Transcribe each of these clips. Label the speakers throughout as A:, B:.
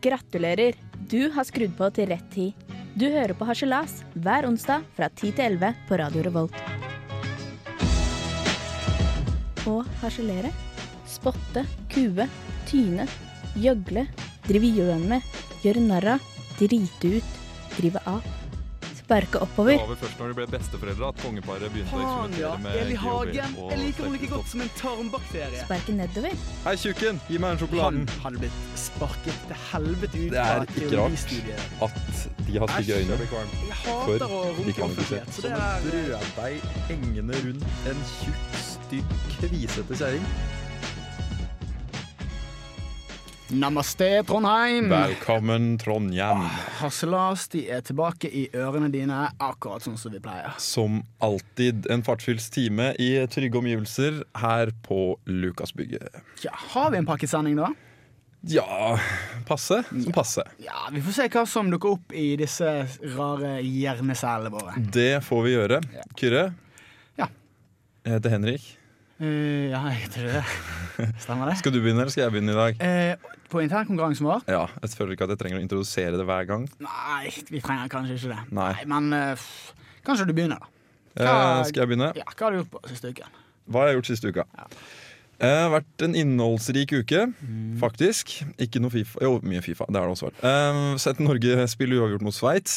A: Gratulerer! Du har skrudd på til rett tid. Du hører på Harselas hver onsdag fra 10 til 11 på Radio Revolt. Å harselere, spotte, kue, tyne, gjøgle, drive gjøn med, gjøre narr av, drite ut, drive av. Sparke
B: Det
A: oppover.
B: var vel først når de ble besteforeldre at kongeparet begynte å
C: Faen, ja.
B: eksperimentere med
C: Eli Hagen.
B: GHB og
C: Jeg liker henne like
B: sterkstoff.
C: godt som en tarmbakterie.
A: Sparke nedover.
B: Hei, tjukken! Gi meg den
C: Han
B: sjokoladen!
C: hadde blitt sparket til helvete ut
D: Det er
C: fra
D: ikke rart.
C: teoristudiet.
D: At de har stygge øyne.
C: Jeg hater å
D: de
C: runke
D: kan ikke se.
C: offentlighet, så det er eh,
D: brøddeig hengende rundt en tjukk, stygg, kvisete kjerring.
C: Namaste, Trondheim!
D: Velkommen, Trondhjem.
B: Ah.
C: Harselas, de er tilbake i ørene dine, akkurat sånn som vi pleier.
D: Som alltid en fartsfylt time i trygge omgivelser her på Lukasbygget.
C: Ja, har vi en pakkesending, da?
D: Ja passe som passe.
C: Ja, Vi får se hva som dukker opp i disse rare hjerneselene våre.
D: Det får vi gjøre. Kyrre?
C: Ja.
D: Jeg heter Henrik.
C: Eh, ja, jeg tror det. Stemmer det?
D: Skal du begynne, eller skal jeg begynne i dag?
C: Eh, på internkonkurransen vår?
D: Ja, Jeg føler ikke at jeg trenger å introdusere det hver gang.
C: Nei, vi trenger kanskje ikke det.
D: Nei.
C: Men eh, pff, kanskje du begynner, da.
D: Eh, skal jeg begynne?
C: Ja, Hva har du gjort på siste uken?
D: Hva har jeg gjort siste uka? Det har vært en innholdsrik uke, faktisk. Ikke noe Fifa. Jo, mye Fifa. Det har det også vært. Eh, sett Norge spille uavgjort mot Sveits.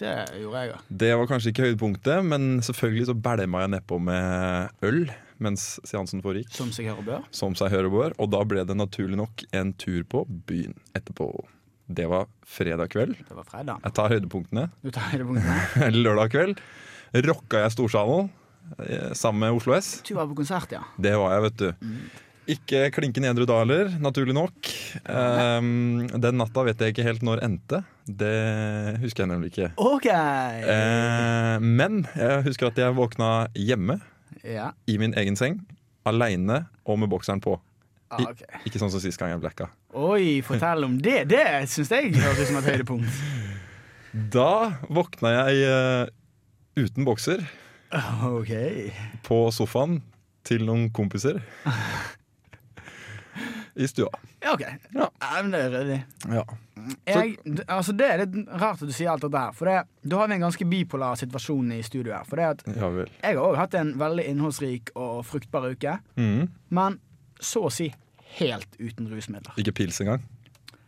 C: Det gjorde jeg òg.
D: Det var kanskje ikke høydepunktet, men selvfølgelig så bælma jeg nedpå med øl mens seansen foregikk,
C: Som seg hører bør.
D: som seg hører og bør. Og da ble det naturlig nok en tur på byen etterpå. Det var fredag kveld.
C: Det var fredag.
D: Jeg tar høydepunktene.
C: Du tar høydepunktene.
D: Lørdag kveld rocka jeg Storsalen eh, sammen med Oslo S.
C: Du var på konsert, ja.
D: Det var jeg, vet du. Ikke klinke nedre daler, naturlig nok. Ehm, den natta vet jeg ikke helt når endte. Det husker jeg nemlig ikke.
C: OK!
D: Eh, men jeg husker at jeg våkna hjemme
C: Ja,
D: i min egen seng. Aleine og med bokseren på.
C: ah,
D: I,
C: ok.
D: ikke sånn som sist gang jeg blacka.
C: Oi, fortell om det. Det syns jeg høres ut som et høydepunkt.
D: Da våkna jeg eh, uten bokser
C: OK.
D: på sofaen til noen kompiser i stua.
C: Ja, OK.
D: Ja.
C: Ja, men det er ryddig.
D: Ja.
C: Jeg, d- altså det er litt rart at du sier alt dette her, for det, da har vi en ganske bipolar situasjon i studio her. For det at
D: ja vel.
C: jeg har òg hatt en veldig innholdsrik og fruktbar uke,
D: Mhm.
C: men så å si helt uten rusmidler.
D: Ikke pils engang.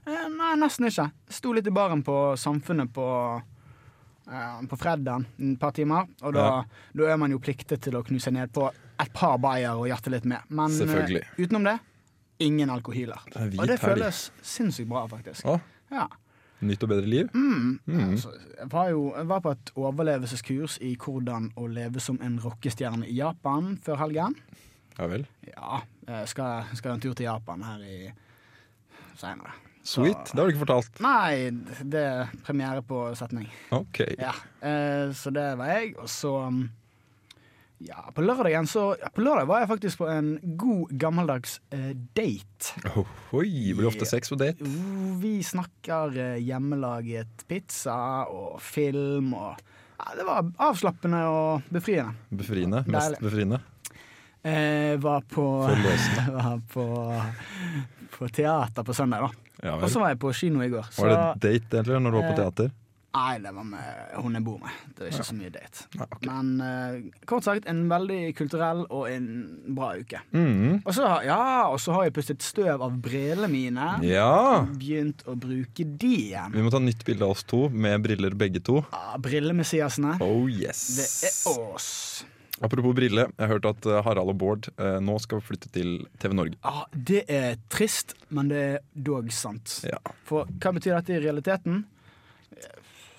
C: Eh, nei, nesten ikke. Sto litt i baren på Samfunnet på eh, på fredagen et par timer, og da,
D: Ja.
C: da er man jo pliktet til å knu seg ned på et par bayer og jatte litt med. Men eh,
D: Selvfølgelig.
C: utenom det, ingen alkohyler.
D: Det er hvit
C: Og det
D: helg.
C: føles sinnssykt bra, faktisk.
D: Å,
C: Ja.
D: Nytt og bedre liv? Mm.
C: Altså, jeg var jo jeg var på et overlevelseskurs i hvordan å leve som en rockestjerne i Japan før helgen.
D: Ja vel.
C: Ja, jeg skal, skal en tur til Japan her i seinere.
D: Sweet. Det har du ikke fortalt.
C: Nei, det er premiere på setning.
D: Ok.
C: Ja, eh, Så det var jeg. Og så mm, ja, på lørdagen så, ja, på lørdag var jeg faktisk på en god, gammeldags eh, date.
D: Ohoi, blir ofte sex på date.
C: Jo, Vi snakker eh, hjemmelaget pizza og film og ja, Det var avslappende og befriende.
D: Befriende. Mest
C: Deilig.
D: befriende.
C: Eh, var på
D: Forløsende.
C: Var på, på teater på søndag, da.
D: Ja
C: Og så
D: vel.
C: var jeg på kino i går. Så
D: Var det date eller når du var på
C: Eh,
D: teater?
C: Nei, det var med hun jeg bor med. Det er ikke så mye date.
D: Ja, ok.
C: Men eh, kort sagt en veldig kulturell og en bra uke.
D: Mhm.
C: Og så har- ja, og så har jeg pustet støv av brillene mine.
D: Ja!
C: Begynt å bruke de igjen.
D: Vi må ta nytt bilde av oss to med briller begge to.
C: Ah, Brillemessiasene.
D: Oh
C: Det
D: yes.
C: er oss.
D: Apropos brille, jeg hørte at eh, Harald og Bård eh, nå skal flytte til TV Norge.
C: Ja, det er trist, men det er dog sant.
D: Ja.
C: For hva betyr dette i realiteten?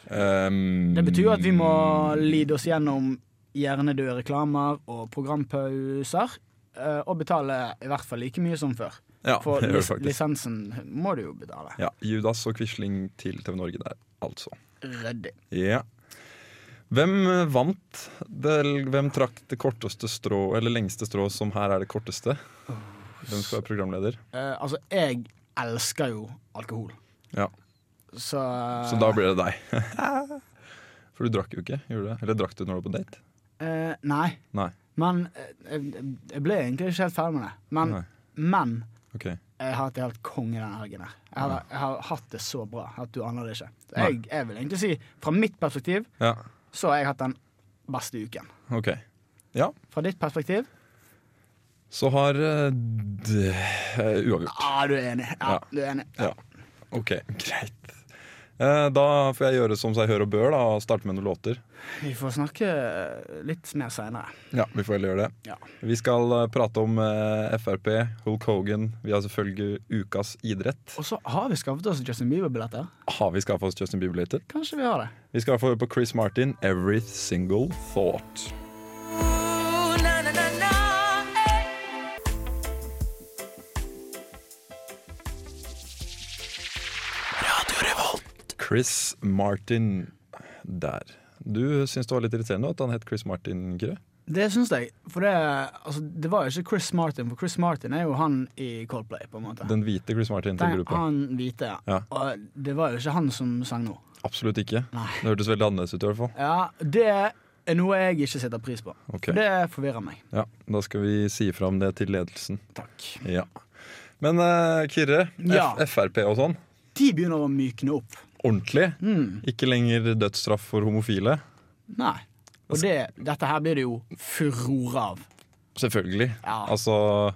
D: Ehm,
C: Det betyr jo at vi må
D: Mm.
C: lide oss gjennom hjernedøde reklamer og programpauser. eh, Og betale i hvert fall like mye som før.
D: ja,
C: For
D: det gjør
C: lis
D: det faktisk.
C: lisensen må du jo betale.
D: Ja, Judas og Quisling til TV Norge der, altså.
C: Ryddig.
D: Ja. Hvem eh, vant? Det, hvem trakk det korteste strå, eller lengste strå, som her er det korteste? Hvem skal være programleder?
C: Eh, altså, jeg elsker jo alkohol,
D: Ja,
C: så
D: Så da blir det deg. For du drakk jo ikke, gjorde du det? Eller drakk du når du var på date?
C: Eh, Nei.
D: Nei.
C: Men eh, jeg, jeg ble egentlig ikke helt ferdig med det. Men,
D: Nei.
C: men
D: Ok.
C: Jeg har hatt det helt konge denne helgen her. Jeg har, jeg har hatt det så bra at du aner det ikke. Så Jeg, jeg vil egentlig si, fra mitt perspektiv,
D: Ja,
C: så har jeg hatt den beste uken.
D: ok. Ja,
C: Fra ditt perspektiv,
D: så har eh, d- eh, Uavgjort.
C: ah, du er enig. Ja,
D: Ja.
C: du er enig.
D: Ja. Ok, greit. Eh, Da får jeg gjøre som seg hør og bør, da, og starte med noen låter.
C: Vi får snakke eh, litt mer seinere.
D: Ja, vi får heller gjøre det.
C: Ja.
D: Vi skal eh, prate om eh, Frp, Hulk Hogan. Vi har selvfølgelig ukas idrett.
C: Og så har vi skaffet oss Justin Bieber-billetter.
D: Har vi skaffa oss Justin Bieber-later?
C: Kanskje vi har det.
D: Vi skal få høre på Chris Martin, 'Every Single Thought'. Chris Martin der. Du syns det var litt irriterende at han het Chris Martin, Kyrre?
C: Det syns jeg. For det, altså, det var jo ikke Chris Martin, for Chris Martin er jo han i Coldplay, på en måte.
D: Den hvite Chris Martin, tenker
C: Den,
D: du på?
C: han hvite, ja.
D: Ja.
C: Og det var jo ikke han som sang nå.
D: Absolutt ikke.
C: Nei.
D: Det hørtes veldig annerledes ut i hvert fall.
C: Ja, det er noe jeg ikke setter pris på.
D: Ok.
C: Det forvirrer meg.
D: Ja, da skal vi si fra om det til ledelsen.
C: Takk.
D: Ja. Men eh, Kyrre,
C: Ja.
D: F Frp og sånn,
C: De begynner å mykne opp.
D: ordentlig.
C: Mm.
D: Ikke lenger dødsstraff for homofile.
C: Nei.
D: Altså-
C: Og det, dette her blir det jo furore av.
D: Selvfølgelig.
C: Ja.
D: Altså,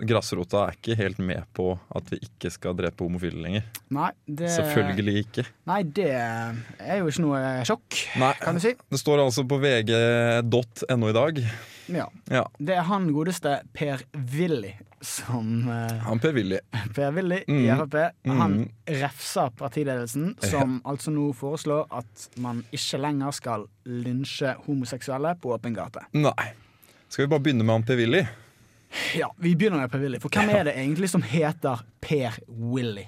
D: grasrota er ikke helt med på at vi ikke skal drepe homofile lenger.
C: Nei, det
D: Selvfølgelig ikke.
C: Nei, det er jo ikke noe sjokk,
D: Nei.
C: kan du si.
D: Det står altså på vg.no i dag.
C: Ja.
D: Ja.
C: Det er han godeste Per Willy som eh,
D: Han Per Willy.
C: Per Willy i
D: Mm.
C: Frp. Han
D: Mm.
C: refser partiledelsen, som altså nå foreslår at man ikke lenger skal lynsje homoseksuelle på åpen gate.
D: Nei. Skal vi bare begynne med han Per Willy?
C: Ja, Vi begynner med Per Willy, for hvem er det egentlig som heter Per Willy?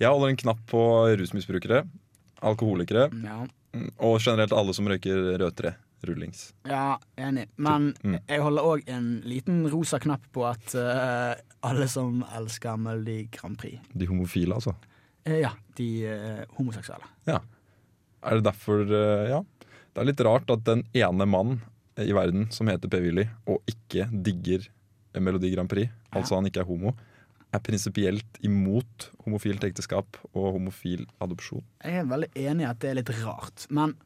D: Jeg holder en knapp på rusmisbrukere, alkoholikere
C: Ja,
D: og generelt alle som røyker rødtre. Rullings.
C: ja enig. Men
D: Mm.
C: jeg holder òg en liten rosa knapp på at eh, alle som elsker Melodi Grand Prix
D: De homofile, altså.
C: eh, Ja, de eh, homoseksuelle.
D: Ja. Er det derfor eh, Ja. Det er litt rart at den ene mannen i verden som heter Per-Willy, og ikke digger Melodi Grand Prix, altså han ikke er homo, er prinsipielt imot homofilt ekteskap og homofil adopsjon.
C: Jeg er veldig enig i at det er litt rart, men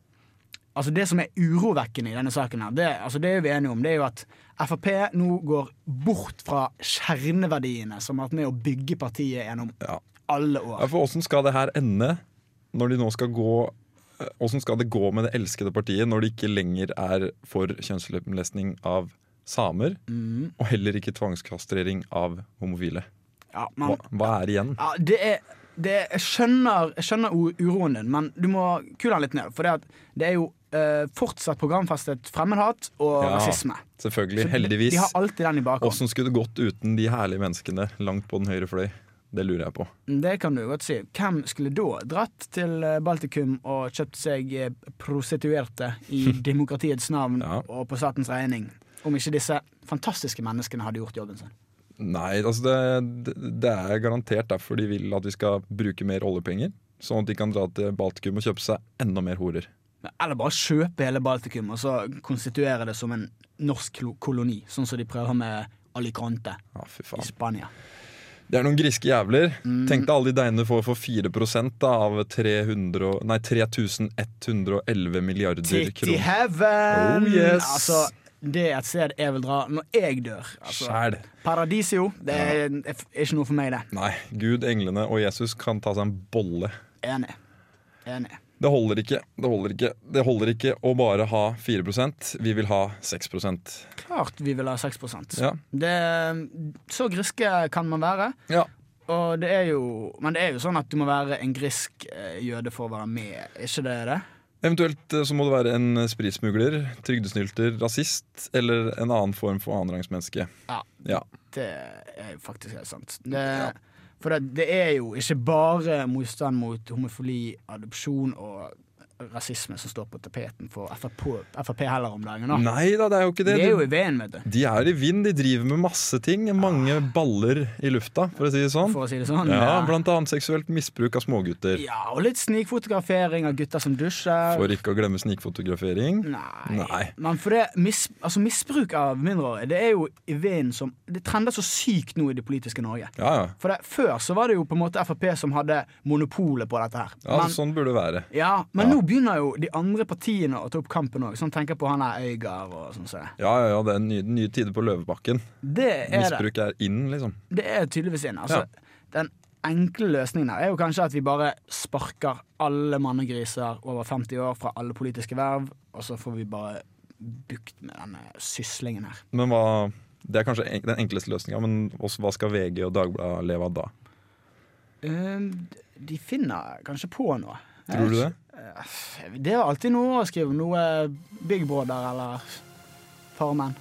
C: altså det som er urovekkende i denne saken, her, det, altså det er vi enige om, det er jo at Frp nå går bort fra kjerneverdiene som har vært med å bygge partiet gjennom
D: Ja.
C: alle
D: Ja,
C: år.
D: for åssen skal det her ende når de nå skal gå eh, Åssen skal det gå med det elskede partiet når det ikke lenger er for kjønnslemlestning av samer, og heller ikke tvangskastrering av homofile?
C: Ja,
D: Hva,
C: men
D: hva er igjen?
C: Ja, det er, det er jeg, skjønner, jeg skjønner u- uroen din, men du må kule den litt ned. For det, at det er jo eh, fortsatt programfestet fremmedhat og
D: Ja,
C: rasisme.
D: Selvfølgelig.
C: Så
D: Heldigvis.
C: De har alltid den i bakhånd.
D: Åssen skulle det gått uten de herlige menneskene langt på den høyre fløy? Det lurer jeg på.
C: Det kan du godt si. Hvem skulle da dratt til eh, Baltikum og kjøpt seg eh, prostituerte i demokratiets navn
D: Ja.
C: og på statens regning, om ikke disse fantastiske menneskene hadde gjort jobben sin?
D: Nei, altså det, det- det er garantert derfor de vil at vi skal bruke mer oljepenger. Sånn at de kan dra til Baltikum og kjøpe seg enda mer horer.
C: Eller bare kjøpe hele Baltikum og så konstituere det som en norsk klo- koloni, sånn som de prøver med Alicante
D: Ja, fy
C: i
D: faen.
C: Spania.
D: Det er noen griske jævler. Tenk deg alle de deinene får for 4 da, av 300, og- nei, 3111 milliarder
C: Titt i
D: kroner.
C: heaven!
D: Oh, yes.
C: Altså, det er et sted jeg vil dra når jeg dør. Altså,
D: Sjæl.
C: Paradisio, det er, er ikke noe for meg, det.
D: Nei, Gud, englene og Jesus kan ta seg en bolle.
C: Enig. Enig.
D: Det holder ikke. Det holder ikke Det holder ikke å bare ha 4 Vi vil ha 6
C: Klart vi vil ha 6
D: Ja.
C: det, Så griske kan man være.
D: ja.
C: Og det er jo, men det er jo sånn at du må være en grisk eh, jøde for å være med. Er ikke det det?
D: Eventuelt eh, så må det være en spritsmugler, trygdesnylter, rasist eller en annen form for annenrangsmenneske.
C: Ja.
D: Ja.
C: Det er jo faktisk helt sant. Det, For det, det er jo ikke bare motstand mot homofili, adopsjon og rasisme som står på tapeten for Frp, FRP heller om dagen. Da.
D: Nei da, det er jo ikke
C: De
D: det.
C: Ah. er jo
D: De,
C: i veien, vet du,
D: de er i vind, de driver med masse ting. Mange baller i lufta, for å si det sånn.
C: Ah. for å si det sånn.
D: Ja, Blant annet seksuelt misbruk av smågutter.
C: ja, og litt snikfotografering av gutter som dusjer.
D: For ikke å glemme snikfotografering.
C: Nei.
D: Nei.
C: Men for det, mis, altså misbruk av mindreårige Det er jo i veien som Det trender så sykt nå i det politiske Norge.
D: Ja, ja.
C: For det, Før så var det jo på en måte Frp som hadde monopolet på dette her.
D: ja
C: men
D: sånn burde det være.
C: ja, men
D: Ja.
C: nå begynner jo de andre partiene å ta opp kampen òg. Sånn tenker på han her Øygard og sånn. Så.
D: Ja, ja, ja, det er nye, nye tider på Løvebakken.
C: Det er det.
D: Misbruk er inn, liksom.
C: Det er tydeligvis inn. Altså, Den enkle løsningen her er jo kanskje at vi bare sparker alle mannegriser over 50 år fra alle politiske verv, og så får vi bare bukt med denne syslingen her.
D: Men hva, Det er kanskje en, den enkleste løsninga, men også, hva skal VG og Dagbladet leve av da?
C: Ehm, de finner kanskje på noe. Jeg
D: Tror du det?
C: vet ikke. Det er alltid noe å skrive. Noe Big Brother eller Farmen.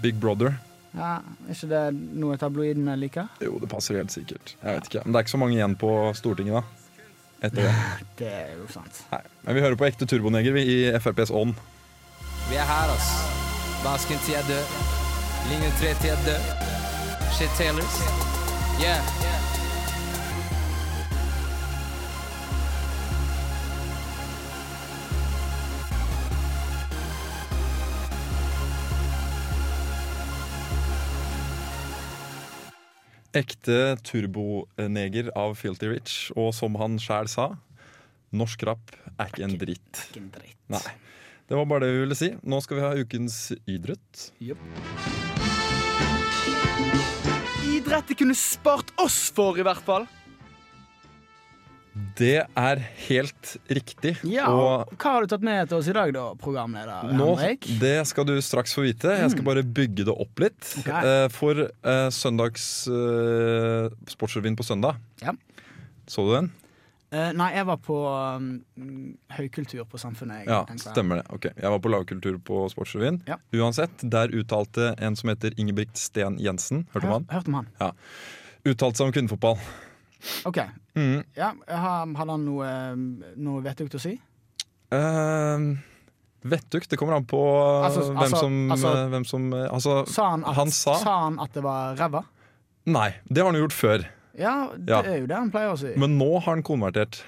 D: Big Brother?
C: Ja, er ikke det noe tabloidene liker?
D: Jo, det passer helt sikkert. Jeg vet ikke. Men det er ikke så mange igjen på Stortinget, da. Etter det.
C: Det er jo sant.
D: Nei. Men vi hører på ekte turboneger vi, i FrPs ånd.
E: Vi er her, ass. Vasken til jeg dør. Linje 3 til jeg dør. Shit Taylors. Yeah.
D: Ekte turboneger av Filty Rich. Og som han sjæl sa, norsk rap er ikke en dritt.
C: Ikke en dritt.
D: Nei. Det var bare det vi ville si. Nå skal vi ha ukens idrett.
C: Idrett de kunne spart oss for, i hvert fall.
D: Det er helt riktig.
C: Ja,
D: og
C: og Hva har du tatt med til oss i dag, da, programleder
D: Nå,
C: Henrik?
D: det skal du straks få vite. Jeg skal bare bygge det opp litt.
C: Mm. Ok.
D: Eh, for eh, søndags eh, Sportsrevyen på søndag
C: Ja.
D: Så du den?
C: Eh, nei, jeg var på um, høykultur på Samfunnet. Jeg,
D: Ja,
C: tenkte jeg.
D: stemmer det. Ok, Jeg var på lavkultur på Sportsrevyen.
C: Ja.
D: Uansett, der uttalte en som heter Ingebrigt Sten Jensen, hørte du om han?
C: Hørt, hørt om han.
D: Uttalte seg om kvinnefotball.
C: Ok.
D: Mm.
C: Ja, har- Hadde han noe, eh, noe vettug til å si?
D: Eh, Vettugt, det kommer an på eh,
C: Altså,
D: hvem,
C: altså,
D: som,
C: altså-
D: eh, hvem som eh, Altså,
C: Sa han at,
D: Han sa-
C: han at det var ræva?
D: nei. Det har han jo gjort før.
C: Ja, det
D: Ja.
C: er jo det han pleier å si.
D: Men nå har han konvertert.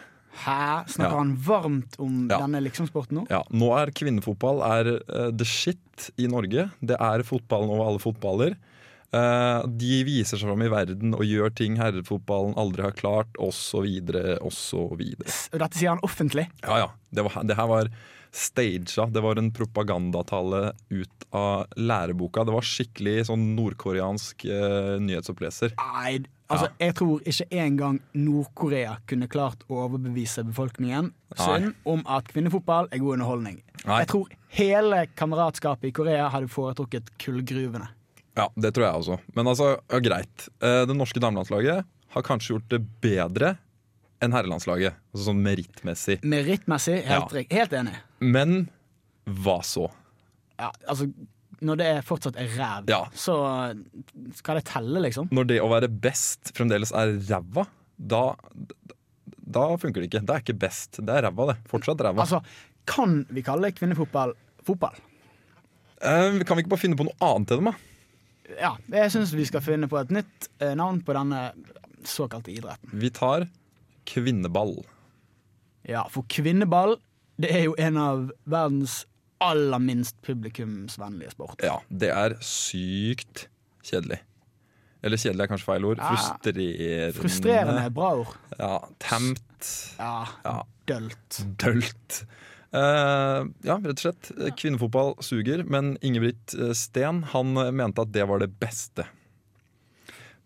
C: Hæ? Snakker
D: Ja.
C: han varmt om
D: Ja.
C: denne liksomsporten nå?
D: Ja, nå er kvinnefotball er eh, the shit i Norge. Det er fotballen over alle fotballer. Eh, de viser seg fram i verden og gjør ting herrefotballen aldri har klart, osv., osv.
C: S- Og dette sier han offentlig.
D: Ja ja. Det, var, det her var staged. Det var en propagandatale ut av læreboka. Det var skikkelig sånn nordkoreansk eh, nyhetsoppleser.
C: Nei, altså jeg tror ikke engang Nord-Korea kunne klart å overbevise befolkningen sin om at kvinnefotball er god underholdning.
D: Nei.
C: Jeg tror hele kameratskapet i Korea hadde foretrukket kullgruvene.
D: Ja, det tror jeg også. Men altså, ja, greit. Eh, Det norske damelandslaget har kanskje gjort det bedre enn herrelandslaget, altså sånn merittmessig.
C: Merittmessig, helt,
D: Ja.
C: rik- helt enig.
D: Men hva så?
C: Ja, altså, når det er fortsatt er ræv,
D: Ja.
C: så skal det telle, liksom.
D: Når det å være best fremdeles er ræva, da, da funker det ikke. Det er ikke best. Det er ræva, det. Fortsatt ræva.
C: Altså, kan vi kalle kvinnefotball fotball?
D: Eh, kan vi ikke bare finne på noe annet enn dem, da?
C: Ja, jeg syns vi skal finne på et nytt eh, navn på denne såkalte idretten.
D: Vi tar kvinneball.
C: Ja, for kvinneball det er jo en av verdens aller minst publikumsvennlige sport.
D: Ja, det er sykt kjedelig. Eller kjedelig er kanskje feil ord.
C: Ja.
D: Frustrerende.
C: Frustrerende bra ord.
D: Ja, Tamt.
C: Ja,
D: Mm. Ja,
C: dølt.
D: dølt. Eh, ja, rett og slett. Kvinnefotball suger, men Ingebrigt eh, Steen han eh, mente at det var det beste.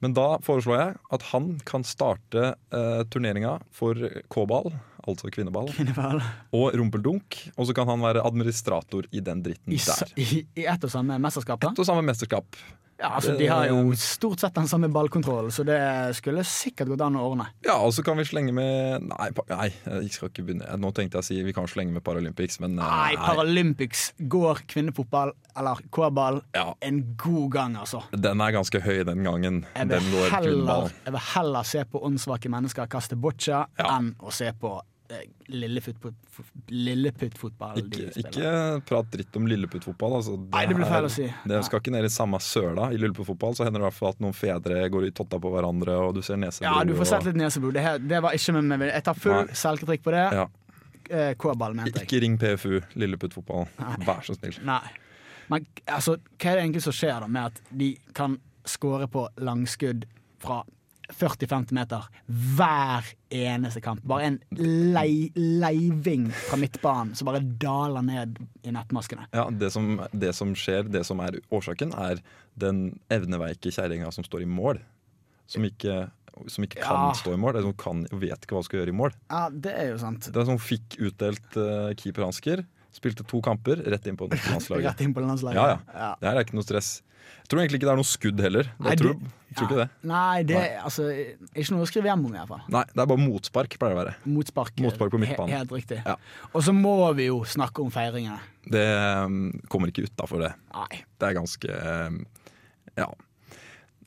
D: Men da foreslår jeg at han kan starte eh, turneringa for K-ball, altså kvinneball,
C: Kvinneball.
D: og rumpeldunk. Og så kan han være administrator i den dritten
C: I, s-
D: der.
C: i, I ett og samme mesterskap, da?
D: Ett og Eh. samme mesterskap.
C: Ja, altså, de har jo stort sett den samme ballkontrollen, så det skulle sikkert gått an å ordne.
D: Ja, og så kan vi slenge med Nei, pa- nei jeg skal ikke begynne. Nå tenkte jeg å si vi kan slenge med Paralympics, men eh,
C: Nei, Paralympics går kvinnefotball, eller K-ball,
D: Ja.
C: en god gang, altså.
D: Den er ganske høy den gangen.
C: Jeg
D: Den
C: vil,
D: går
C: heller,
D: kvinneball.
C: jeg vil heller se på åndsvake mennesker kaste boccia
D: Ja.
C: enn å se på eh, lilleputt-fotball
D: Ikke, ikke prat dritt om lilleputtfotball. Altså,
C: Nei, det blir
D: er-
C: feil å si.
D: Det skal ikke ned i samme søla i lilleputtfotball. Så hender det i hvert fall at noen fedre går i totta på hverandre, og du ser neseblod.
C: Ja, du får sett
D: og-
C: litt neseblod. Det, her- det var ikke med meg. Jeg tar full
D: Nei.
C: selvkritikk på det.
D: Ja.
C: Eh, K-ball, mente jeg.
D: Ikke ring PFU, lilleputtfotball. Vær så snill.
C: Nei. Men altså, hva er det egentlig som skjer da med at de kan skåre på langskudd fra 40-50 meter hver eneste kamp? Bare en lei, leiving fra midtbanen som bare daler ned i nettmaskene.
D: Ja, det som, det som skjer, det som er årsaken, er den evneveike kjerringa som står i mål. Som ikke, som ikke kan
C: Ja.
D: stå i mål, eller som kan, vet ikke hva hun skal gjøre i mål.
C: Ja, det er jo sant.
D: Det er som fikk utdelt eh, keeperhansker, spilte to kamper, rett inn på landslaget.
C: Rett inn på landslaget.
D: Ja, ja. Det her er ikke noe stress. Jeg tror egentlig ikke det er noe skudd heller. Jeg
C: Nei,
D: tror,
C: det-
D: tror ikke det.
C: Nei, det er altså ikke noe å skrive hjem om, i hvert fall.
D: Nei, det er bare motspark, pleier det å være.
C: Motspark. eh,
D: Motspark på midtbanen.
C: He- Helt riktig.
D: Ja.
C: Og så må vi jo snakke om feiringene.
D: Det um, kommer ikke utafor det.
C: Nei.
D: Det er ganske um, Ja.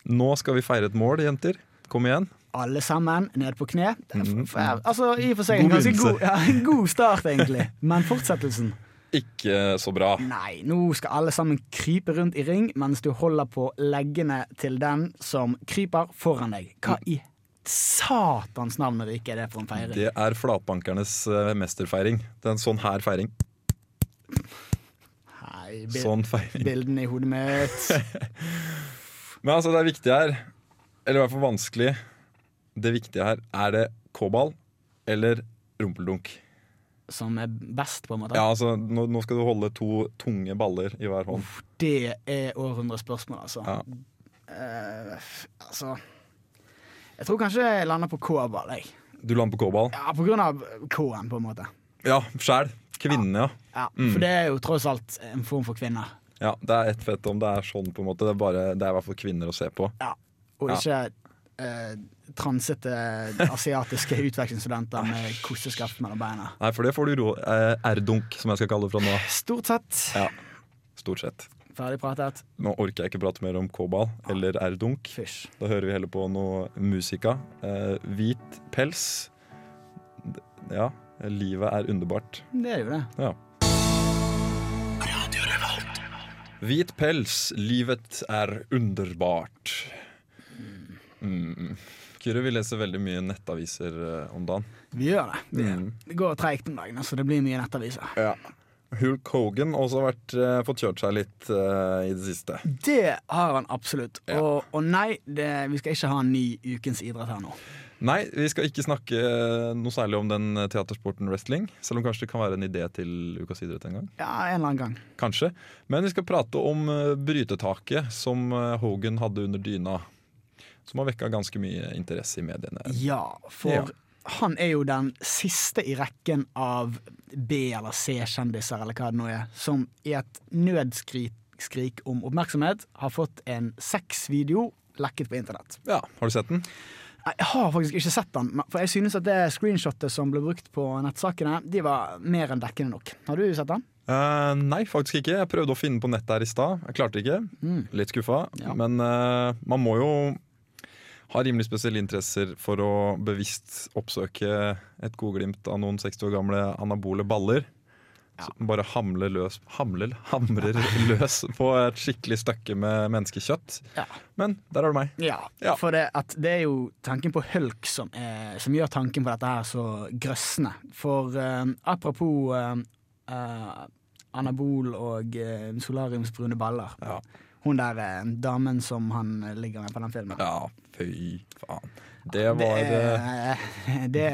D: Nå skal vi feire et mål, jenter. Kom igjen.
C: Alle sammen ned på kne. Det er f- f- Altså, I og for seg en
D: Mhm, God
C: ganske
D: begynnelse.
C: god, ja, en god start, egentlig. Men fortsettelsen?
D: Ikke så bra.
C: Nei, nå skal alle sammen krype rundt i ring mens du holder på leggene til den som kryper foran deg. Hva i satans navn og rike er det for en feiring?
D: Det er flatbankernes eh, mesterfeiring. Det er en sånn her feiring.
C: Nei, bil-
D: Sånn feiring.
C: Bildene i hodet mitt.
D: Men altså, det er viktig her, eller i hvert fall vanskelig Det viktige her, er det k-ball eller rumpeldunk?
C: Som er best, på en måte.
D: Ja, altså, nå, nå skal du holde to tunge baller i hver hånd.
C: Det er århundrets spørsmål, altså.
D: Ja.
C: Eh, altså Jeg tror kanskje jeg lander på K-ball, jeg.
D: Du lander på k-ball?
C: Ja, på grunn av K-en, på en måte.
D: Ja, sjæl. Kvinnene, ja.
C: Ja, For det er jo tross alt en form for kvinner.
D: ja. Det er ett fett om det er sånn, på en måte. Det er, bare, det er i hvert fall kvinner å se på.
C: Ja. Og
D: Ja.
C: ikke eh, transete asiatiske utvekslingsstudenter med koseskaft mellom beina.
D: Nei, for det får du ro eh, R-dunk, som jeg skal kalle det fra nå av.
C: Stort sett
D: Ja. Stort sett.
C: ferdig pratet.
D: Nå orker jeg ikke prate mer om k-ball eller r-dunk.
C: Fysj.
D: Da hører vi heller på noe musika. Eh, hvit pels. D- Ja, livet er underbart.
C: Det er jo det.
D: Ja. Hvit pels, livet er underbart. Mm. Kyrre, vi leser veldig mye nettaviser eh, om dagen.
C: Vi gjør det. Det,
D: Mm.
C: det går treigt om dagen, så det blir mye nettaviser.
D: Hulk Hogan har også vært, eh, fått kjørt seg litt eh, i det siste.
C: Det har han absolutt.
D: Ja.
C: Og, og nei, det, vi skal ikke ha en ny Ukens idrett her nå.
D: Nei, vi skal ikke snakke eh, noe særlig om den eh, teatersporten wrestling. Selv om kanskje det kan være en idé til ukas idrett en gang.
C: Ja, en eller annen gang.
D: Kanskje. Men vi skal prate om eh, brytetaket som eh, Hogan hadde under dyna. Som har vekka ganske mye interesse i mediene.
C: Ja, for
D: Ja.
C: han er jo den siste i rekken av B- eller C-kjendiser, eller hva det nå er, som i et nødskrik skrik om oppmerksomhet har fått en sexvideo lekket på internett.
D: Ja, Har du sett den?
C: Nei, Jeg har faktisk ikke sett den, men- for jeg synes at det screenshotet som ble brukt på nettsakene, de var mer enn dekkende nok. Har du sett den?
D: Eh, nei, faktisk ikke. Jeg prøvde å finne på nettet her i stad. Jeg klarte ikke. Litt skuffa.
C: Ja.
D: Men eh, man må jo ha rimelig spesielle interesser for å bevisst oppsøke et godglimt av noen 60 år gamle anabole baller. Som bare hamler løs Hamler? Hamrer løs på et skikkelig støkke med menneskekjøtt.
C: Ja.
D: Men der har du meg.
C: Ja,
D: Ja.
C: for det, at det er jo tanken på hulk som, er, som gjør tanken på dette her så grøssende. For eh, apropos eh, eh, anabol og eh, solariumsbrune baller.
D: Ja.
C: Hun der eh, damen som han eh, ligger med på den filmen.
D: Ja, fy faen. Det var
C: det,
D: eh,
C: er- det,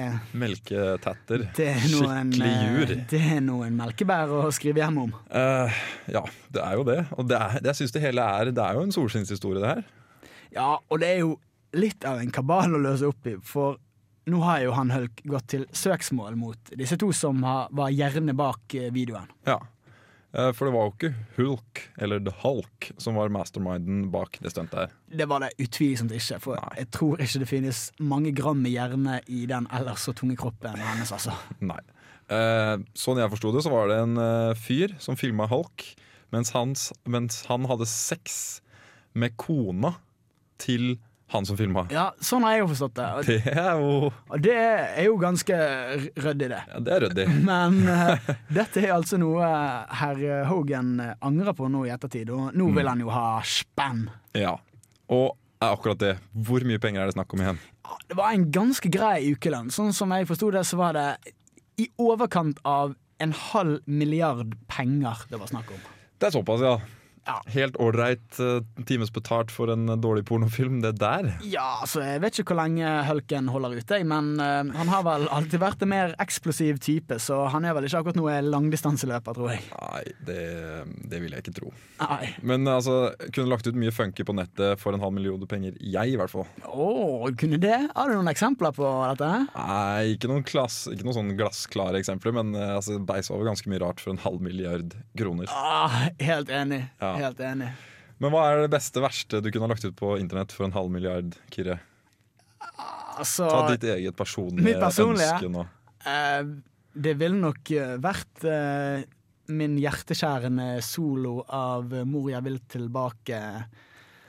D: melketetter.
C: det er noen
D: Skikkelig
C: eh,
D: jur.
C: Det er noen melkebær å skrive hjem om.
D: Eh, ja, det er jo det. Og det er, jeg synes det hele er Det er jo en solskinnshistorie, det her.
C: Ja, og det er jo litt av en kabal å løse opp i, for nå har jo han Hulk gått til søksmål mot disse to som har, var gjerne bak eh, videoen.
D: Ja. Eh, For det var jo ikke Hulk eller The Hulk som var masterminden bak det stuntet her.
C: Det var det utvilsomt ikke, for
D: Nei.
C: jeg tror ikke det finnes mange gram med hjerne i den ellers så tunge kroppen hennes, altså.
D: Nei. Eh, Sånn jeg forsto det, så var det en eh, fyr som filma Hulk mens, hans, mens han hadde sex med kona til Han som filma.
C: Ja, sånn har jeg jo forstått det. Og-
D: Det er jo
C: Og det er jo ganske r- ryddig, det.
D: ja, Det er ryddig.
C: Men eh, dette er altså noe eh, herr Hogan eh, angrer på nå i ettertid, og nå vil han jo ha spenn.
D: Ja. Og er akkurat det. Hvor mye penger er det snakk om igjen?
C: Ja, Ah, Det var en ganske grei ukelønn. Sånn som jeg forsto det, så var det i overkant av en halv milliard penger det var snakk om.
D: Det er såpass, ja.
C: Ja.
D: Helt ålreit eh, times betalt for en eh, dårlig pornofilm, det der.
C: Ja, altså Jeg vet ikke hvor lenge Hulken holder ute, jeg, men eh, han har vel alltid vært en mer eksplosiv type, så han er vel ikke akkurat noe langdistanseløper, tror jeg.
D: Nei, det, det vil jeg ikke tro.
C: Nei.
D: Men altså, kunne lagt ut mye funky på nettet for en halv million penger. Jeg, i hvert fall.
C: Å, kunne det? Har du noen eksempler på dette?
D: Nei, ikke noen, klass, ikke noen sånn glassklare eksempler, men eh, altså, beis over ganske mye rart for en halv milliard kroner.
C: Ah, helt enig.
D: Ja.
C: Helt enig.
D: Men hva er det beste verste du kunne ha lagt ut på internett for en halv milliard, Kyrre?
C: Altså,
D: Ta ditt eget personlige,
C: Mitt personlige?
D: ønske nå.
C: eh, det ville nok eh, vært eh, min hjerteskjærende solo av eh, 'Mor, jeg vil tilbake'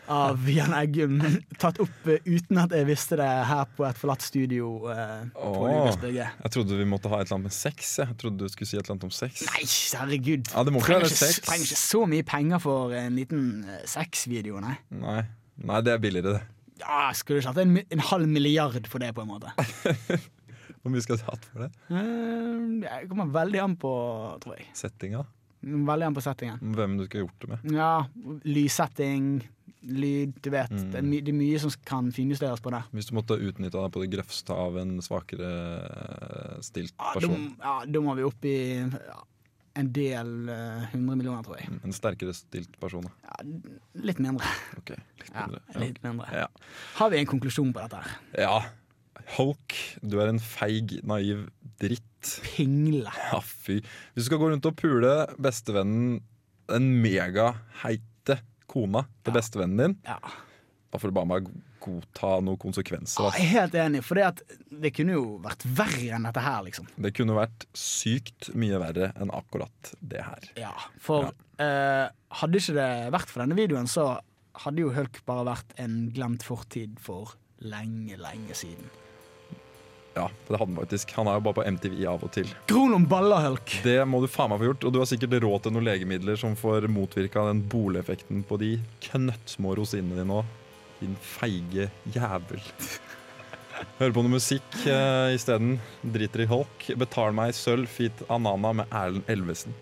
C: av Jan Eggum. Tatt opp eh, uten at jeg visste det, her på et forlatt studio eh, på
D: Åh.
C: Lydesbygget.
D: Jeg trodde vi måtte ha et eller annet med sex. Jeg Jeg trodde du skulle si et eller annet om sex.
C: Nei, herregud.
D: Ja, det må ikke
C: trenger,
D: være
C: ikke,
D: sex.
C: trenger ikke så mye penger for en liten eh, sexvideo, nei.
D: Nei. Nei, det er billigere, det.
C: Ja, skulle du hatt en, mi- en halv milliard for det, på en måte?
D: Hvor mye skal du ha hatt for det?
C: Eh, Det kommer veldig an på, tror jeg.
D: Settinga?
C: Veldig an på settingen.
D: Hvem du skulle ha gjort det med?
C: Ja, lyssetting, lyd, du vet. Det, er my det er mye som kan finjusteres på det.
D: Hvis du måtte utnytta deg på det grøvste av en svakere eh, stilt
C: Ja, da
D: person.
C: ja, da må vi opp i ja, en del eh, hundre millioner, tror jeg.
D: En sterkere stilt person. da.
C: Ja, litt mindre.
D: Ok, litt
C: Ja,
D: mindre. Ja.
C: litt mindre.
D: Ja.
C: Har vi en konklusjon på dette? her?
D: ja. Hulk, du er en feig, naiv dritt.
C: Pingle.
D: Ja, fy. Hvis du skal gå rundt og pule bestevennen, den megaheite kona til bestevennen din,
C: Ja.
D: da får du bare meg godta noen konsekvenser.
C: Ja,
D: ass.
C: Ah, jeg er helt enig, for det, at det kunne jo vært verre enn dette her, liksom.
D: Det kunne vært sykt mye verre enn akkurat det her.
C: Ja, For eh, hadde ikke det vært for denne videoen, så hadde jo Hulk bare vært en glemt fortid for lenge, lenge siden.
D: Ja, det hadde han faktisk. Han er jo bare på MTV av og til.
C: Kron om baller, Hulk!
D: Det må du faen meg få gjort, og du har sikkert råd til noen legemidler som får motvirka den boleeffekten på de knøttsmå rosinene dine òg. Din feige jævel. Hør på noe musikk uh, isteden. Driter i Holk. Betal meg i sølv, fit anana med Erlend Elvesen.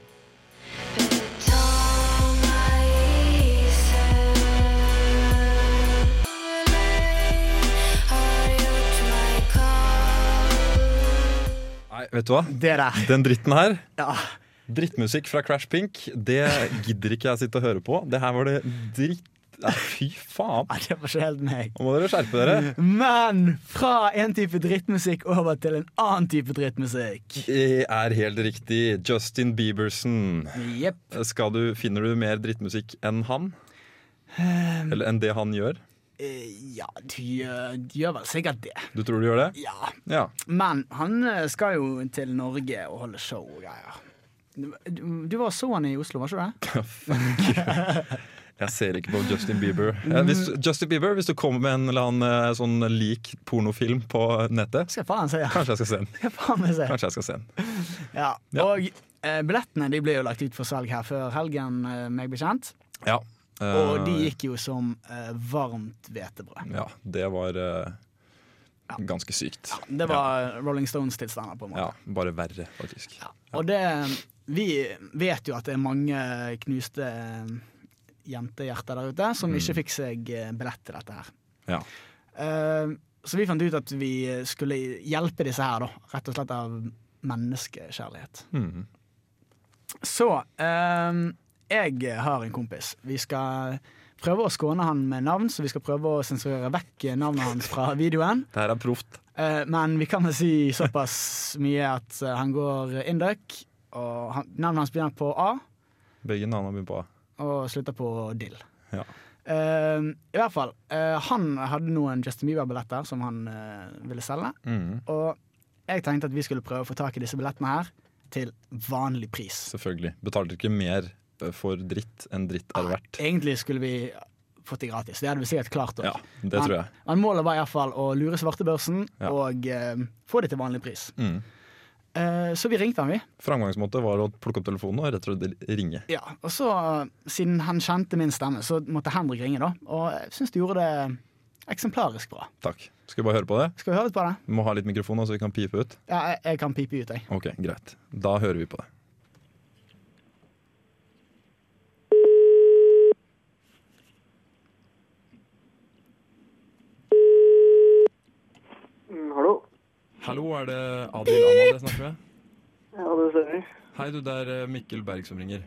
D: Nei, vet du hva?
C: Det der.
D: Den dritten her,
C: Ja.
D: drittmusikk fra Crash Pink, det gidder ikke jeg sitte og høre på. Det her var det dritt... Nei, fy faen.
C: Nei, det var ikke helt meg.
D: Nå må dere skjerpe dere.
C: Men fra en type drittmusikk over til en annen type drittmusikk.
D: Det er helt riktig. Justin Bieberson.
C: Jepp.
D: Skal du, finner du mer drittmusikk enn han? Eller enn det han gjør?
C: Eh, Ja, de, eh, de gjør vel sikkert det.
D: Du tror du gjør det?
C: Ja.
D: Ja.
C: Men han eh, skal jo til Norge og holde show og greier. Du, du- du var og så han i Oslo, var ikke du det?
D: Jeg ser ikke på Justin Bieber. Eh, Hvis, Justin Bieber, hvis du kommer med en eller annen eh, sånn lik pornofilm på nettet,
C: Skal faen si ja.
D: kanskje jeg skal se den.
C: Skal faen meg si.
D: Kanskje jeg skal se den.
C: Ja.
D: Ja.
C: Og eh, billettene de ble jo lagt ut for salg her før helgen, eh, meg bekjent.
D: Ja. Eh,
C: Og de gikk jo som eh, varmt hvetebrød.
D: Ja, det var eh, ganske sykt.
C: Det var Rolling Stones-tilstander, på en måte.
D: Ja, bare verre, faktisk.
C: Ja. Og det Vi vet jo at det er mange knuste jentehjerter der ute som ikke fikk seg eh, billett til dette her.
D: Ja.
C: Eh, Så vi fant ut at vi skulle hjelpe disse her, da. Rett og slett av menneskekjærlighet.
D: Mhm.
C: Så eh, jeg har en kompis. Vi skal prøve å skåne han med navn, så vi skal prøve å sensurere vekk navnet hans fra videoen.
D: Det her er proft.
C: Eh, men vi kan vel si såpass mye at eh, han går induck, og han, navnet hans begynner på A
D: Begge navnene begynner på A.
C: og slutter på Dill.
D: Ja.
C: Eh, I hvert fall. eh, han hadde noen Justin Bieber-billetter som han eh, ville selge,
D: Mhm.
C: og jeg tenkte at vi skulle prøve å få tak i disse billettene her til vanlig pris.
D: Selvfølgelig. Betalte ikke mer for dritt eh, enn dritt er verdt.
C: Egentlig skulle vi fått det gratis. Det hadde vi sikkert klart òg.
D: Ja, det tror jeg.
C: Men målet var iallfall å lure svartebørsen
D: Ja.
C: og eh, få det til vanlig pris.
D: Mm.
C: Eh, så vi ringte han, vi.
D: Framgangsmåte var å plukke opp telefonen og rett og slett ringe.
C: Ja, og så, eh, siden han kjente min stemme, så måtte Henrik ringe, da. Og jeg syns du gjorde det eksemplarisk bra.
D: Takk. Skal vi bare høre på det?
C: Skal vi høre litt på det?
D: Vi må ha litt mikrofon, nå, så vi kan pipe ut.
C: Ja, jeg, jeg kan pipe ut, jeg.
D: Ok, greit. Da hører vi på det.
F: Mm, hallo.
D: Hallo, er det Adil Amal jeg snakker med?
F: Ja, det stemmer.
D: Hei, du, det er eh, Mikkel Berg som ringer.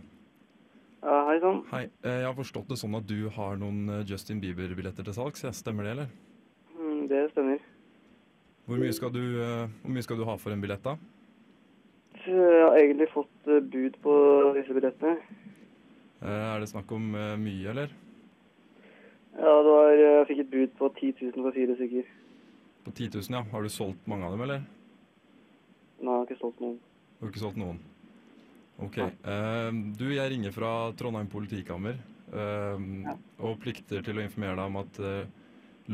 F: Ja, hei sann.
D: Hei, eh, jeg har forstått det sånn at du har noen eh, Justin Bieber-billetter til salgs, ja. stemmer det, eller?
F: Mm, det stemmer.
D: Hvor mye skal du, eh, hvor mye skal du ha for en billett, da?
F: Så Jeg har egentlig fått eh, bud på disse billettene.
D: Eh, Er det snakk om eh, mye, eller?
F: Ja, det var, eh, jeg fikk et bud på 10 000 for fire stykker.
D: På 10 000, ja. Har du solgt mange av dem, eller?
F: Nå har jeg ikke solgt noen.
D: Har du ikke solgt noen? Ok.
F: Nei.
D: eh, Du, jeg ringer fra Trondheim politikammer eh, og plikter til å informere deg om at eh,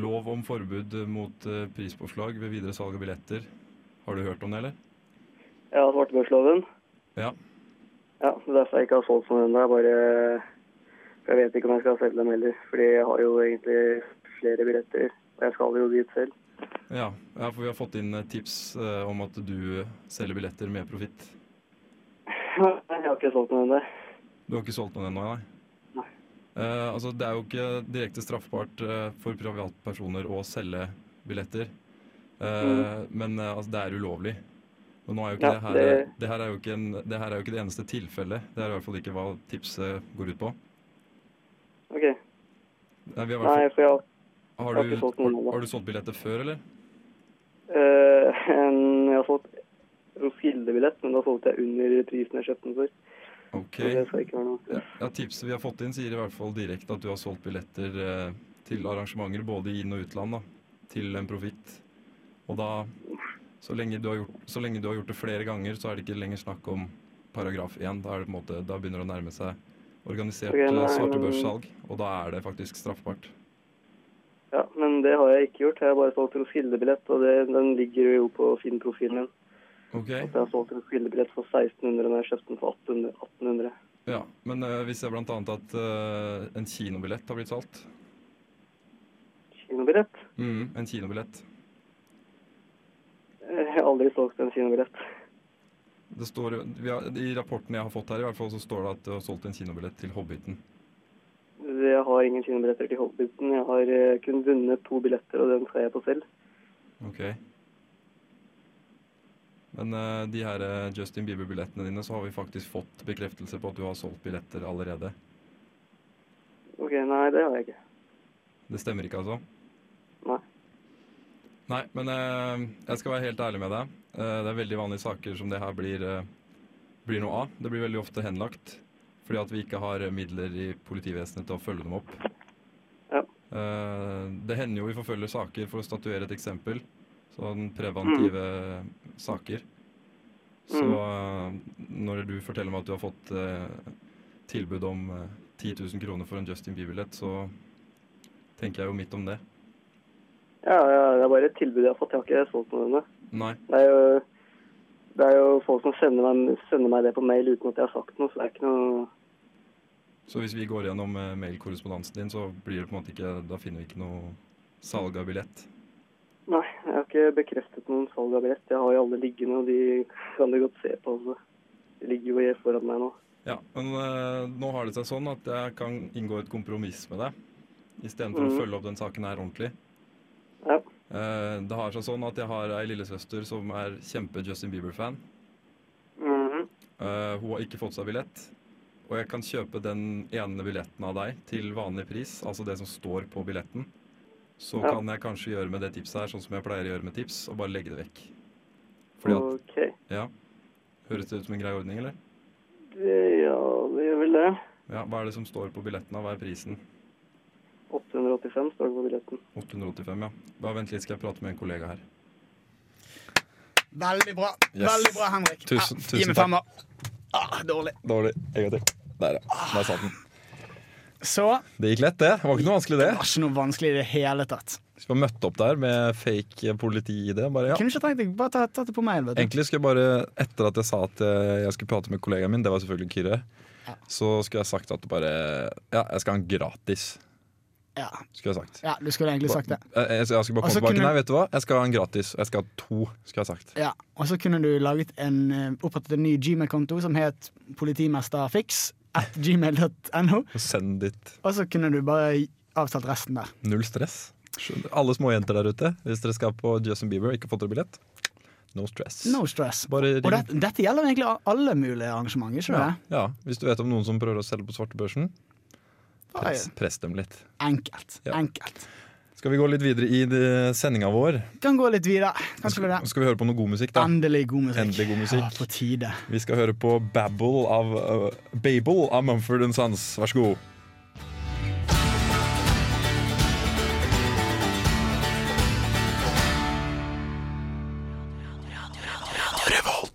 D: lov om forbud mot eh, prispåslag ved videre salg av billetter Har du hørt om det, eller?
F: Ja, svartebørsloven.
D: Ja.
F: Ja, det er derfor jeg ikke har solgt noen ennå. Jeg bare Jeg vet ikke om jeg skal selge dem heller. Fordi jeg har jo egentlig flere billetter. Og jeg skal jo dit selv.
D: Ja, ja, for vi har fått inn eh, tips eh, om at du selger billetter med profitt.
F: jeg har ikke solgt noen ennå.
D: Du har ikke solgt noen ennå, nei?
F: Nei.
D: Eh, altså, det er jo ikke direkte straffbart eh, for privatpersoner å selge billetter. Eh, Men eh, altså, det er ulovlig. Og nå er jo ikke
F: Mm. Ja,
D: det, her, eh, det...
F: det-
D: her er jo ikke en, det her er jo ikke det eneste tilfellet. Det er i hvert fall ikke hva tipset går ut på.
F: OK.
D: Nei, vi har i hvert
F: Nei, for jeg har
D: fall-
F: jeg har
D: har,
F: ikke
D: du,
F: solgt noen
D: har,
F: ennå.
D: har du solgt billetter før, eller?
F: Eh, en, jeg har solgt Roskilde-billett, men da solgte jeg under prisen jeg kjøpte den for.
D: Ok.
F: Så det skal ikke være noe.
D: Ja, ja, tipset vi har fått inn, sier i hvert fall direkte at du har solgt billetter eh, til arrangementer både i inn- og utland da, til en profitt. Og da, så lenge, du har gjort, så lenge du har gjort det flere ganger, så er det ikke lenger snakk om paragraf 1. Da, er det på en måte, da begynner det å nærme seg organisert
F: Ok,
D: okay,
F: nei,
D: svartebørssalg, og da er det faktisk straffbart.
F: Ja, men det har jeg ikke gjort. Jeg har bare solgt Roskilde-billett, og det, den ligger jo på Finn-profilen min.
D: Ok,
F: At jeg har solgt Roskilde-billett for 1600 når jeg kjøpte den for 1800. 1800.
D: ja. Men eh, vi ser blant annet at eh, en kinobillett har blitt solgt.
F: Kinobillett?
D: Mm, en kinobillett.
F: Eh, Jeg har aldri solgt en kinobillett.
D: Det står, jo- vi har, I rapporten jeg har fått her, i hvert fall, så står det at du har solgt en kinobillett til Hobbiten.
F: Jeg har ingen kinobilletter til Hobbiten. Jeg har eh, kun vunnet to billetter, og den skal jeg på selv.
D: Ok. Men eh, de her eh, Justin Bieber-billettene dine, så har vi faktisk fått bekreftelse på at du har solgt billetter allerede.
F: OK, nei, det har jeg ikke.
D: Det stemmer ikke, altså?
F: Nei.
D: Nei, men eh, jeg skal være helt ærlig med deg. Eh, det er veldig vanlige saker som det her blir, eh, blir noe av. Det blir veldig ofte henlagt fordi at vi ikke har eh, midler i politivesenet til å følge dem opp.
F: Ja.
D: Eh, det hender jo vi forfølger saker for å statuere et eksempel. Sånn preventive saker. Så eh, når du forteller meg at du har fått eh, tilbud om eh, 10 000 kroner for en Justin Bieber-billett, så tenker jeg jo midt om det.
F: Ja, ja, det er bare et tilbud jeg har fått. Jeg har ikke solgt noen ennå.
D: Nei,
F: Det er jo, det er jo folk som sender meg, sender meg det på mail uten at jeg har sagt noe, så det er ikke noe
D: så hvis vi går gjennom eh, mailkorrespondansen din, så blir det på en måte ikke Da finner vi ikke noe salg av billett.
F: Nei, jeg har ikke bekreftet noen salg av billett. Jeg har jo alle liggende, og de kan du godt se på. Altså. De ligger jo foran meg nå.
D: Ja, men eh, nå har det seg sånn at jeg kan inngå et kompromiss med deg istedenfor å
F: Mhm.
D: følge opp den saken her ordentlig.
F: Ja.
D: Eh, det har seg sånn at jeg har ei lillesøster som er kjempe-Justin Bieber-fan.
F: Mhm.
D: Eh, hun har ikke fått seg billett. Og jeg kan kjøpe den ene billetten av deg til vanlig pris, altså det som står på billetten. Så
F: Ja.
D: kan jeg kanskje gjøre med det tipset her, sånn som jeg pleier å gjøre med tips, og bare legge det vekk. Fordi at,
F: OK.
D: ja, Høres det ut som en grei ordning, eller?
F: Det, ja, det gjør vel det.
D: Ja, Hva er det som står på billetten? av? Hva er prisen?
F: 885 står det på billetten.
D: 885, ja. Bare vent litt, skal jeg prate med en kollega her.
C: Veldig bra,
D: Yes.
C: veldig bra, Henrik.
D: Tusen-
C: Ah,
D: tusen
C: Gi meg
D: takk.
C: femmer. Ah, dårlig.
D: Ah! Dårlig. En gang til. Der, ja. Der satt den.
C: Så det
D: Det gikk lett, det. Det var ikke noe vanskelig, det.
C: var ikke noe vanskelig i det hele tatt.
D: Hvis man møtte opp der med fake politi-ID bare, ja.
C: Kunne ikke trengt det. Bare ta- tatt det på mail. Vet du.
D: Egentlig skulle jeg bare, etter at jeg sa at eh, jeg skulle prate med kollegaen min, det var selvfølgelig Kyrre, så skulle jeg sagt at bare Ja, jeg skal ha en gratis,
C: Ja.
D: skulle jeg sagt.
C: ja, du skulle egentlig sagt det.
D: Jeg, jeg, jeg skulle bare
C: Og
D: komme
C: så
D: tilbake.
C: kunne-
D: Nei, vet du hva, jeg skal ha en gratis, og jeg skal ha to, skulle jeg sagt.
C: Ja, Og så kunne du laget en, eh, opprettet en ny Gmail-konto som het politimesterfiks at gmail.no,
D: Og send ditt
C: og så kunne du bare avtalt resten der.
D: null stress. Skjønner. Alle småjenter der ute, hvis dere skal på Justin Bieber og ikke har fått dere billett, no stress.
C: No stress.
D: Bare
C: Og
D: ring.
C: det, dette gjelder egentlig alle mulige arrangementer, ikke
D: Ja,
C: det?
D: ja, hvis du vet om noen som prøver å selge på svartebørsen,
C: Bare
D: press, press dem litt.
C: Enkelt.
D: Ja.
C: Enkelt.
D: Skal vi gå litt videre i sendinga vår?
C: Kan gå litt videre. Kanskje det.
D: Skal skal vi høre på noe god musikk, da?
C: Endelig god musikk.
D: Endelig god musikk.
C: Ja, på tide.
D: Vi skal høre på Babble av, øh, Babel av Mumford Sons. Vær så god.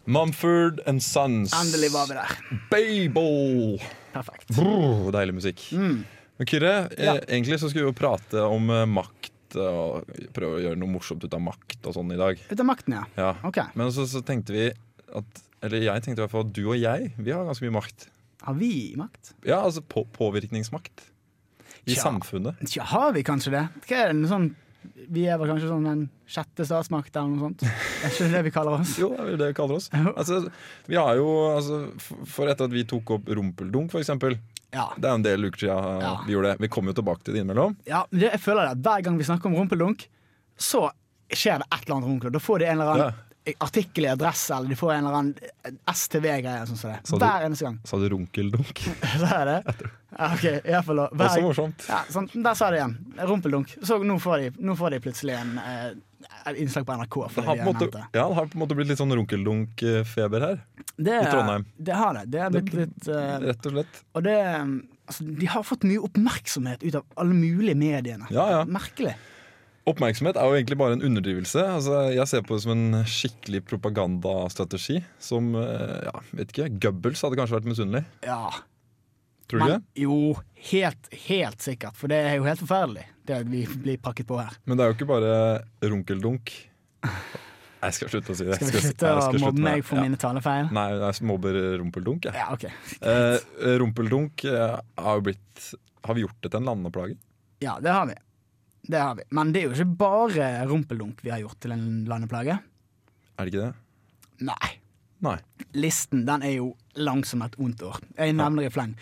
D: Mumford and Sons.
C: Endelig var vi der.
D: Babel!
C: Perfekt.
D: Brr, deilig musikk. Men Kyrre, eh,
C: Ja.
D: egentlig så skulle vi jo prate om eh, makt eh, og prøve å gjøre noe morsomt ut av makt og sånn i dag.
C: Ut av makten, ja.
D: Ja.
C: Ok.
D: Men så, så tenkte vi at Eller jeg tenkte i hvert fall at du og jeg, vi har ganske mye makt.
C: Har vi makt?
D: Ja, altså på, påvirkningsmakt i
C: Tja.
D: samfunnet.
C: Ja, har vi kanskje det? Hva er det, noe sånn, vi er vel kanskje sånn den sjette statsmakt eller noe sånt? Er ikke det det vi kaller oss?
D: Jo, det er vel det vi kaller oss.
C: Jo.
D: Altså, vi har jo, altså, f- For etter at vi tok opp Rumpeldunk, for eksempel
C: Ja.
D: Det er jo en del uker siden eh,
C: Ja.
D: vi gjorde det. Vi kommer jo tilbake til det innimellom.
C: ja men det, jeg føler det at hver gang vi snakker om rumpeldunk, så skjer det et eller annet rumpeldunk. Da får de en eller annen artikkel i adresse, eller de får en eller annen STV-greie. Sånn som det.
D: Så du-
C: Hver eneste gang.
D: Sa du Runkeldunk?
C: Så er det. Ja, OK, i hvert fall da. Hver-
D: Også morsomt.
C: Ja, sånn, der sa det igjen. Rumpeldunk. Så nå får de, nå får de plutselig en, eh, et innslag på NRK.
D: Det
C: For det,
D: har,
C: de
D: på en måte,
C: nevnte.
D: ja, det har på en måte blitt litt sånn runkeldunk-feber her.
C: Det-
D: i Trondheim.
C: Det har det. Det er blitt litt eh,
D: Rett og slett.
C: Og det eh, Altså, de har fått mye oppmerksomhet ut av alle mulige mediene.
D: Ja, ja.
C: Merkelig.
D: Oppmerksomhet er jo egentlig bare en underdrivelse. Altså, jeg ser på det som en skikkelig propagandastrategi. Som eh, ja, vet ikke, Goebbels hadde kanskje vært misunnelig.
C: Ja.
D: Tror du ikke?
C: jo, helt, helt sikkert. For det er jo helt forferdelig, det vi blir pakket på her.
D: Men det er jo ikke bare runkeldunk. Jeg skal slutte å si det.
C: Skal vi
D: Jeg
C: slutte
D: jeg
C: å
D: skal
C: mobbe
D: med
C: meg
D: det.
C: for
D: Ja.
C: mine talefeil?
D: Nei, jeg mobber rumpeldunk, jeg.
C: Ja, OK.
D: Eh, rumpeldunk eh, har jo blitt Har vi gjort det til en landeplage?
C: Ja, det har vi. Det har vi. Men det er jo ikke bare rumpeldunk vi har gjort til en landeplage.
D: Er det ikke det?
C: Nei.
D: Nei.
C: listen den er jo lang som et ondt år. Jeg nevner i fleng.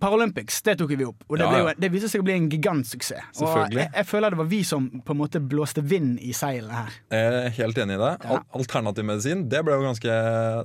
C: Paralympics det tok vi opp, og det,
D: Ja,
C: ble
D: ja.
C: jo, det viste seg å bli en gigantsuksess. Og
D: Selvfølgelig.
C: jeg, jeg føler det var vi som på en måte blåste vind i seilene her.
D: Jeg er Eh, helt enig i deg. Al
C: Ja.
D: Alternativ medisin det ble jo ganske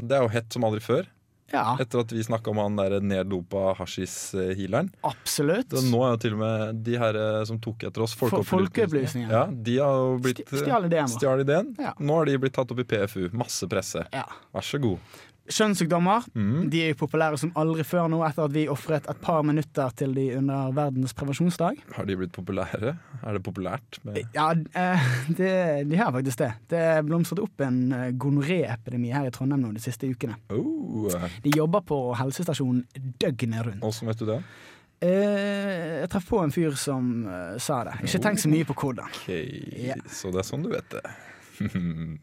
D: Det er jo hett som aldri før.
C: Ja,
D: Etter at vi snakka om han der neddopa hasjis-healeren.
C: absolutt.
D: Så Nå er jo til og med de her eh, som tok etter oss,
C: For-
D: folkeopplysningen,
C: folkeopplysningen.
D: ja, de har jo blitt
C: Sti- stjal ideen vår.
D: stjal ideen.
C: Ja.
D: Nå har de blitt tatt opp i PFU. Masse presse.
C: Ja.
D: Vær så god.
C: Kjønnssykdommer
D: Mm.
C: de er jo populære som aldri før nå, etter at vi ofret et par minutter til de under verdens prevensjonsdag.
D: Har de blitt populære? Er det populært? Med
C: Ja, eh, det, de har faktisk det. Det blomstret opp en eh, gonoré-epidemi her i Trondheim nå de siste ukene.
D: oh.
C: De jobber på helsestasjonen døgnet rundt.
D: Åssen vet du det?
C: Eh, jeg traff på en fyr som eh, sa det. Ikke tenk så mye på hvordan.
D: Ok,
C: Ja.
D: Så det er sånn du vet det.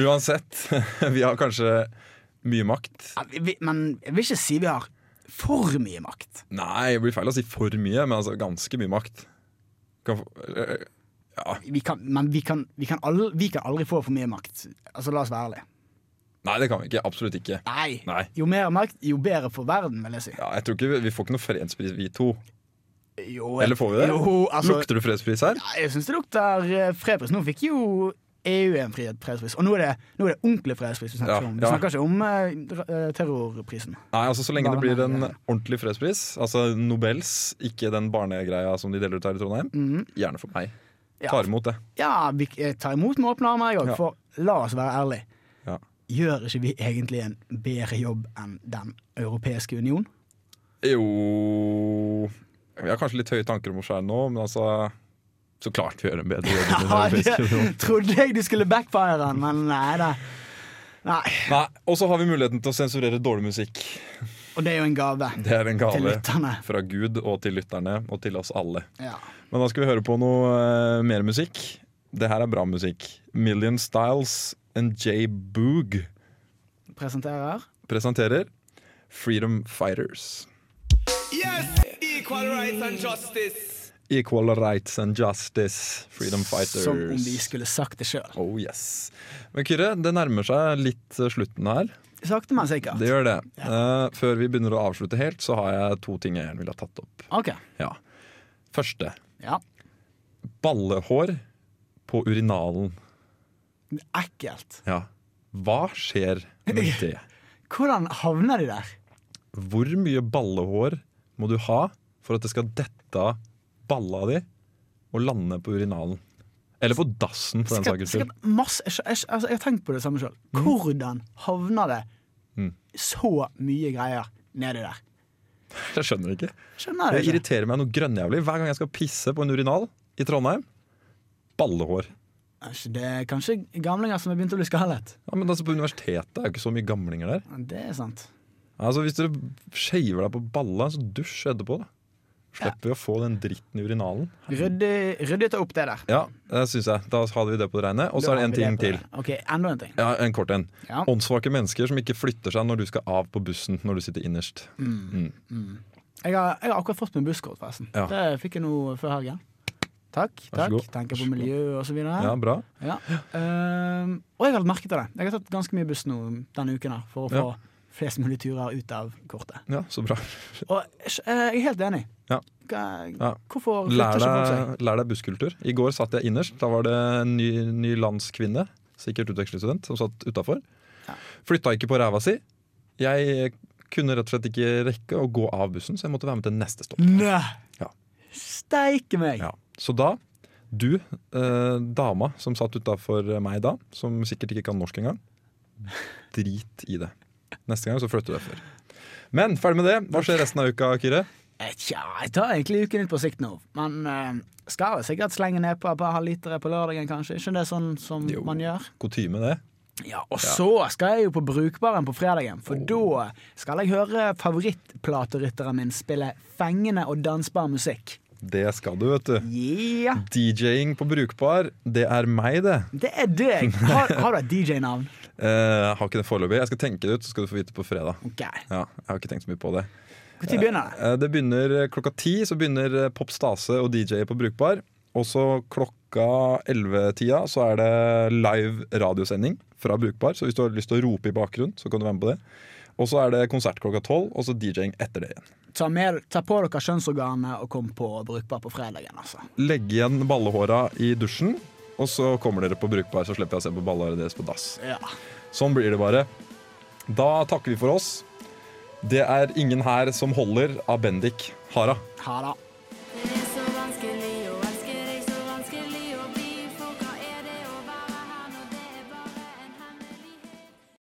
D: Uansett, vi har kanskje mye makt.
C: Ja, vi- vi- Men jeg vil ikke si vi har for mye makt.
D: Nei, det blir feil å si for mye, men altså ganske mye makt. Kan få- eh, ja.
C: Vi kan, men vi kan, vi, kan aldri, vi kan aldri få for mye makt. Altså, La oss være ærlige.
D: Nei, det kan vi ikke. Absolutt ikke.
C: Nei.
D: Nei.
C: Jo mer makt, jo bedre for verden, vil jeg si.
D: Ja, jeg tror ikke Vi, vi får ikke noe fredspris, vi to.
C: Jo, jeg-
D: Eller får vi det?
C: Jo, altså,
D: Lukter du fredspris her?
C: Nei, jeg syns det lukter eh, fredspris. Nå fikk jo EU en frihet fredspris, og nå er det, nå er det ordentlig fredspris vi snakker
D: Ja,
C: om. Vi
D: ja.
C: snakker ikke om eh, dra- eh, terrorprisen.
D: Nei, altså Så lenge det
C: Bare
D: blir
C: nei,
D: en
C: ja.
D: ordentlig fredspris, altså Nobels, ikke den barnegreia som de deler ut her i Trondheim, gjerne for meg.
C: Mhm. Ja.
D: Tar imot det.
C: Ja, vi eh, tar imot med åpne armer, jeg òg,
D: Ja.
C: for la oss være ærlig.
D: Ja.
C: Gjør ikke vi egentlig en bedre jobb enn Den europeiske union?
D: Jo Vi har kanskje litt høye tanker om oss sjøl nå, men altså Så klart vi gjør en bedre jobb. enn den
C: Ja, det
D: europeiske unionen.
C: trodde jeg du skulle backfire, men nei da. Nei.
D: Nei, Og så har vi muligheten til å sensurere dårlig musikk.
C: Og det er jo en gave
D: Det er en
C: til
D: gave
C: lytterne.
D: fra Gud og til lytterne og til oss alle.
C: Ja.
D: Men da skal vi høre på noe eh, mer musikk. Det her er bra musikk. Million Styles and J. Boog
C: Presenterer
D: presenterer Freedom Fighters. Equal Rights and Justice. Freedom Fighters.
C: som om de skulle sagt det sjøl.
D: Oh yes. Men Kyrre, det nærmer seg litt eh, slutten her.
C: Sakte, men sikkert.
D: Det gjør det. Eh, før vi begynner å avslutte helt, så har jeg to ting jeg gjerne ville ha tatt opp.
C: OK.
D: Ja. Første.
C: Ja.
D: Ballehår på urinalen.
C: Ekkelt.
D: Ja. Hva skjer med det?
C: Hvordan havner de der?
D: Hvor mye ballehår må du ha for at det skal dette av balla di og lande på urinalen? Eller på dassen, for den Mm.
C: Sikkert,
D: saks skyld.
C: sikkert masse jeg, skjø- jeg, skjø- altså, jeg har tenkt på det samme sjøl. Hvordan havner det
D: Mm.
C: så mye greier nedi der?
D: Jeg skjønner ikke.
C: Skjønner
D: Det
C: jeg ikke.
D: irriterer meg noe grønnjævlig hver gang jeg skal pisse på en urinal i Trondheim. Ballehår.
C: Altså, Det er kanskje gamlinger som er begynt å bli skallet.
D: Ja, men altså På universitetet er jo ikke så mye gamlinger der.
C: Det er sant.
D: Altså Hvis dere shaver deg på balla, så dusj etterpå. da Slipper vi å få den dritten i urinalen.
C: Ryddig, ryddig ta opp det der.
D: Ja, det syns jeg. Da hadde vi det på det rene. Og så
C: Da
D: er det
C: har
D: en
C: vi
D: ting
C: på
D: til.
C: det. Ok, enda en ting.
D: Ja, En kort en.
C: Ja.
D: Åndssvake mennesker som ikke flytter seg når du skal av på bussen når du sitter innerst.
C: Jeg har, jeg har akkurat fått meg busskort, forresten.
D: Ja.
C: Det fikk jeg nå før helgen. Takk.
D: Vær så
C: takk.
D: god. Vær
C: Tenker på
D: så god.
C: miljø og så videre.
D: Ja, bra.
C: Ja. Ehm, og jeg har lagt merke til det. Jeg har tatt ganske mye buss nå denne uken her, for å få
D: Ja.
C: flest mulig turer ut av kortet.
D: Ja, så bra.
C: Og jeg skj- jeg er helt enig.
D: Ja.
C: Hva-
D: Ja.
C: Hvorfor
D: Lær
C: flytter ikke folk seg?
D: deg, lær deg busskultur. I går satt jeg innerst. Da var det en ny, ny landskvinne, sikkert utvekslingsstudent, som satt utafor.
C: Ja.
D: Flytta ikke på ræva si. Jeg kunne rett og slett ikke rekke å gå av bussen, så jeg måtte være med til neste stopp.
C: Nei!
D: Ja.
C: Steike meg!
D: Ja. Så da, du, eh, dama som satt utafor meg da, som sikkert ikke kan norsk engang, drit i det. Neste gang så flytter du deg før. Men ferdig med det. Hva skjer resten av uka, Kyrre?
C: Eh, Tja, jeg tar egentlig uken litt på sikt nå. Men eh, skal jeg sikkert slenge ned på et par halvlitere på lørdagen, kanskje? Ikke det sånn som
D: Jo.
C: man gjør?
D: Kutyme, det.
C: Ja, Og så skal jeg jo på Brukbaren på fredagen, for da skal jeg høre favorittplaterytteren min spille fengende og dansbar musikk.
D: Det skal du, vet du.
C: Ja,
D: DJ-ing på brukbar, det er meg, det.
C: det er deg! Har, har du et DJ-navn?
D: Eh, jeg har ikke det foreløpig. Jeg skal tenke det ut, så skal du få vite på fredag.
C: Ok,
D: Ja, jeg har ikke tenkt så mye på det.
C: Når begynner det?
D: Eh, det begynner klokka ti, så begynner eh, Pop Stase og DJ på brukbar. Og så klokka 11-tida så er det live radiosending fra brukbar. Så hvis du har lyst til å rope i bakgrunnen, så kan du være med på det. Og så er det konsert klokka tolv, og så DJ-ing etter det igjen.
C: Ta, med, ta på dere kjønnsorganet og kom på Brukbar på fredagen, altså.
D: Legg igjen ballehåra i dusjen, og så kommer dere på brukbar, så slipper jeg å se på ballehåra deres på dass.
C: Ja.
D: Sånn blir det bare. Da takker vi for oss. Det er ingen her som holder av Bendik Hara.
C: Ha det.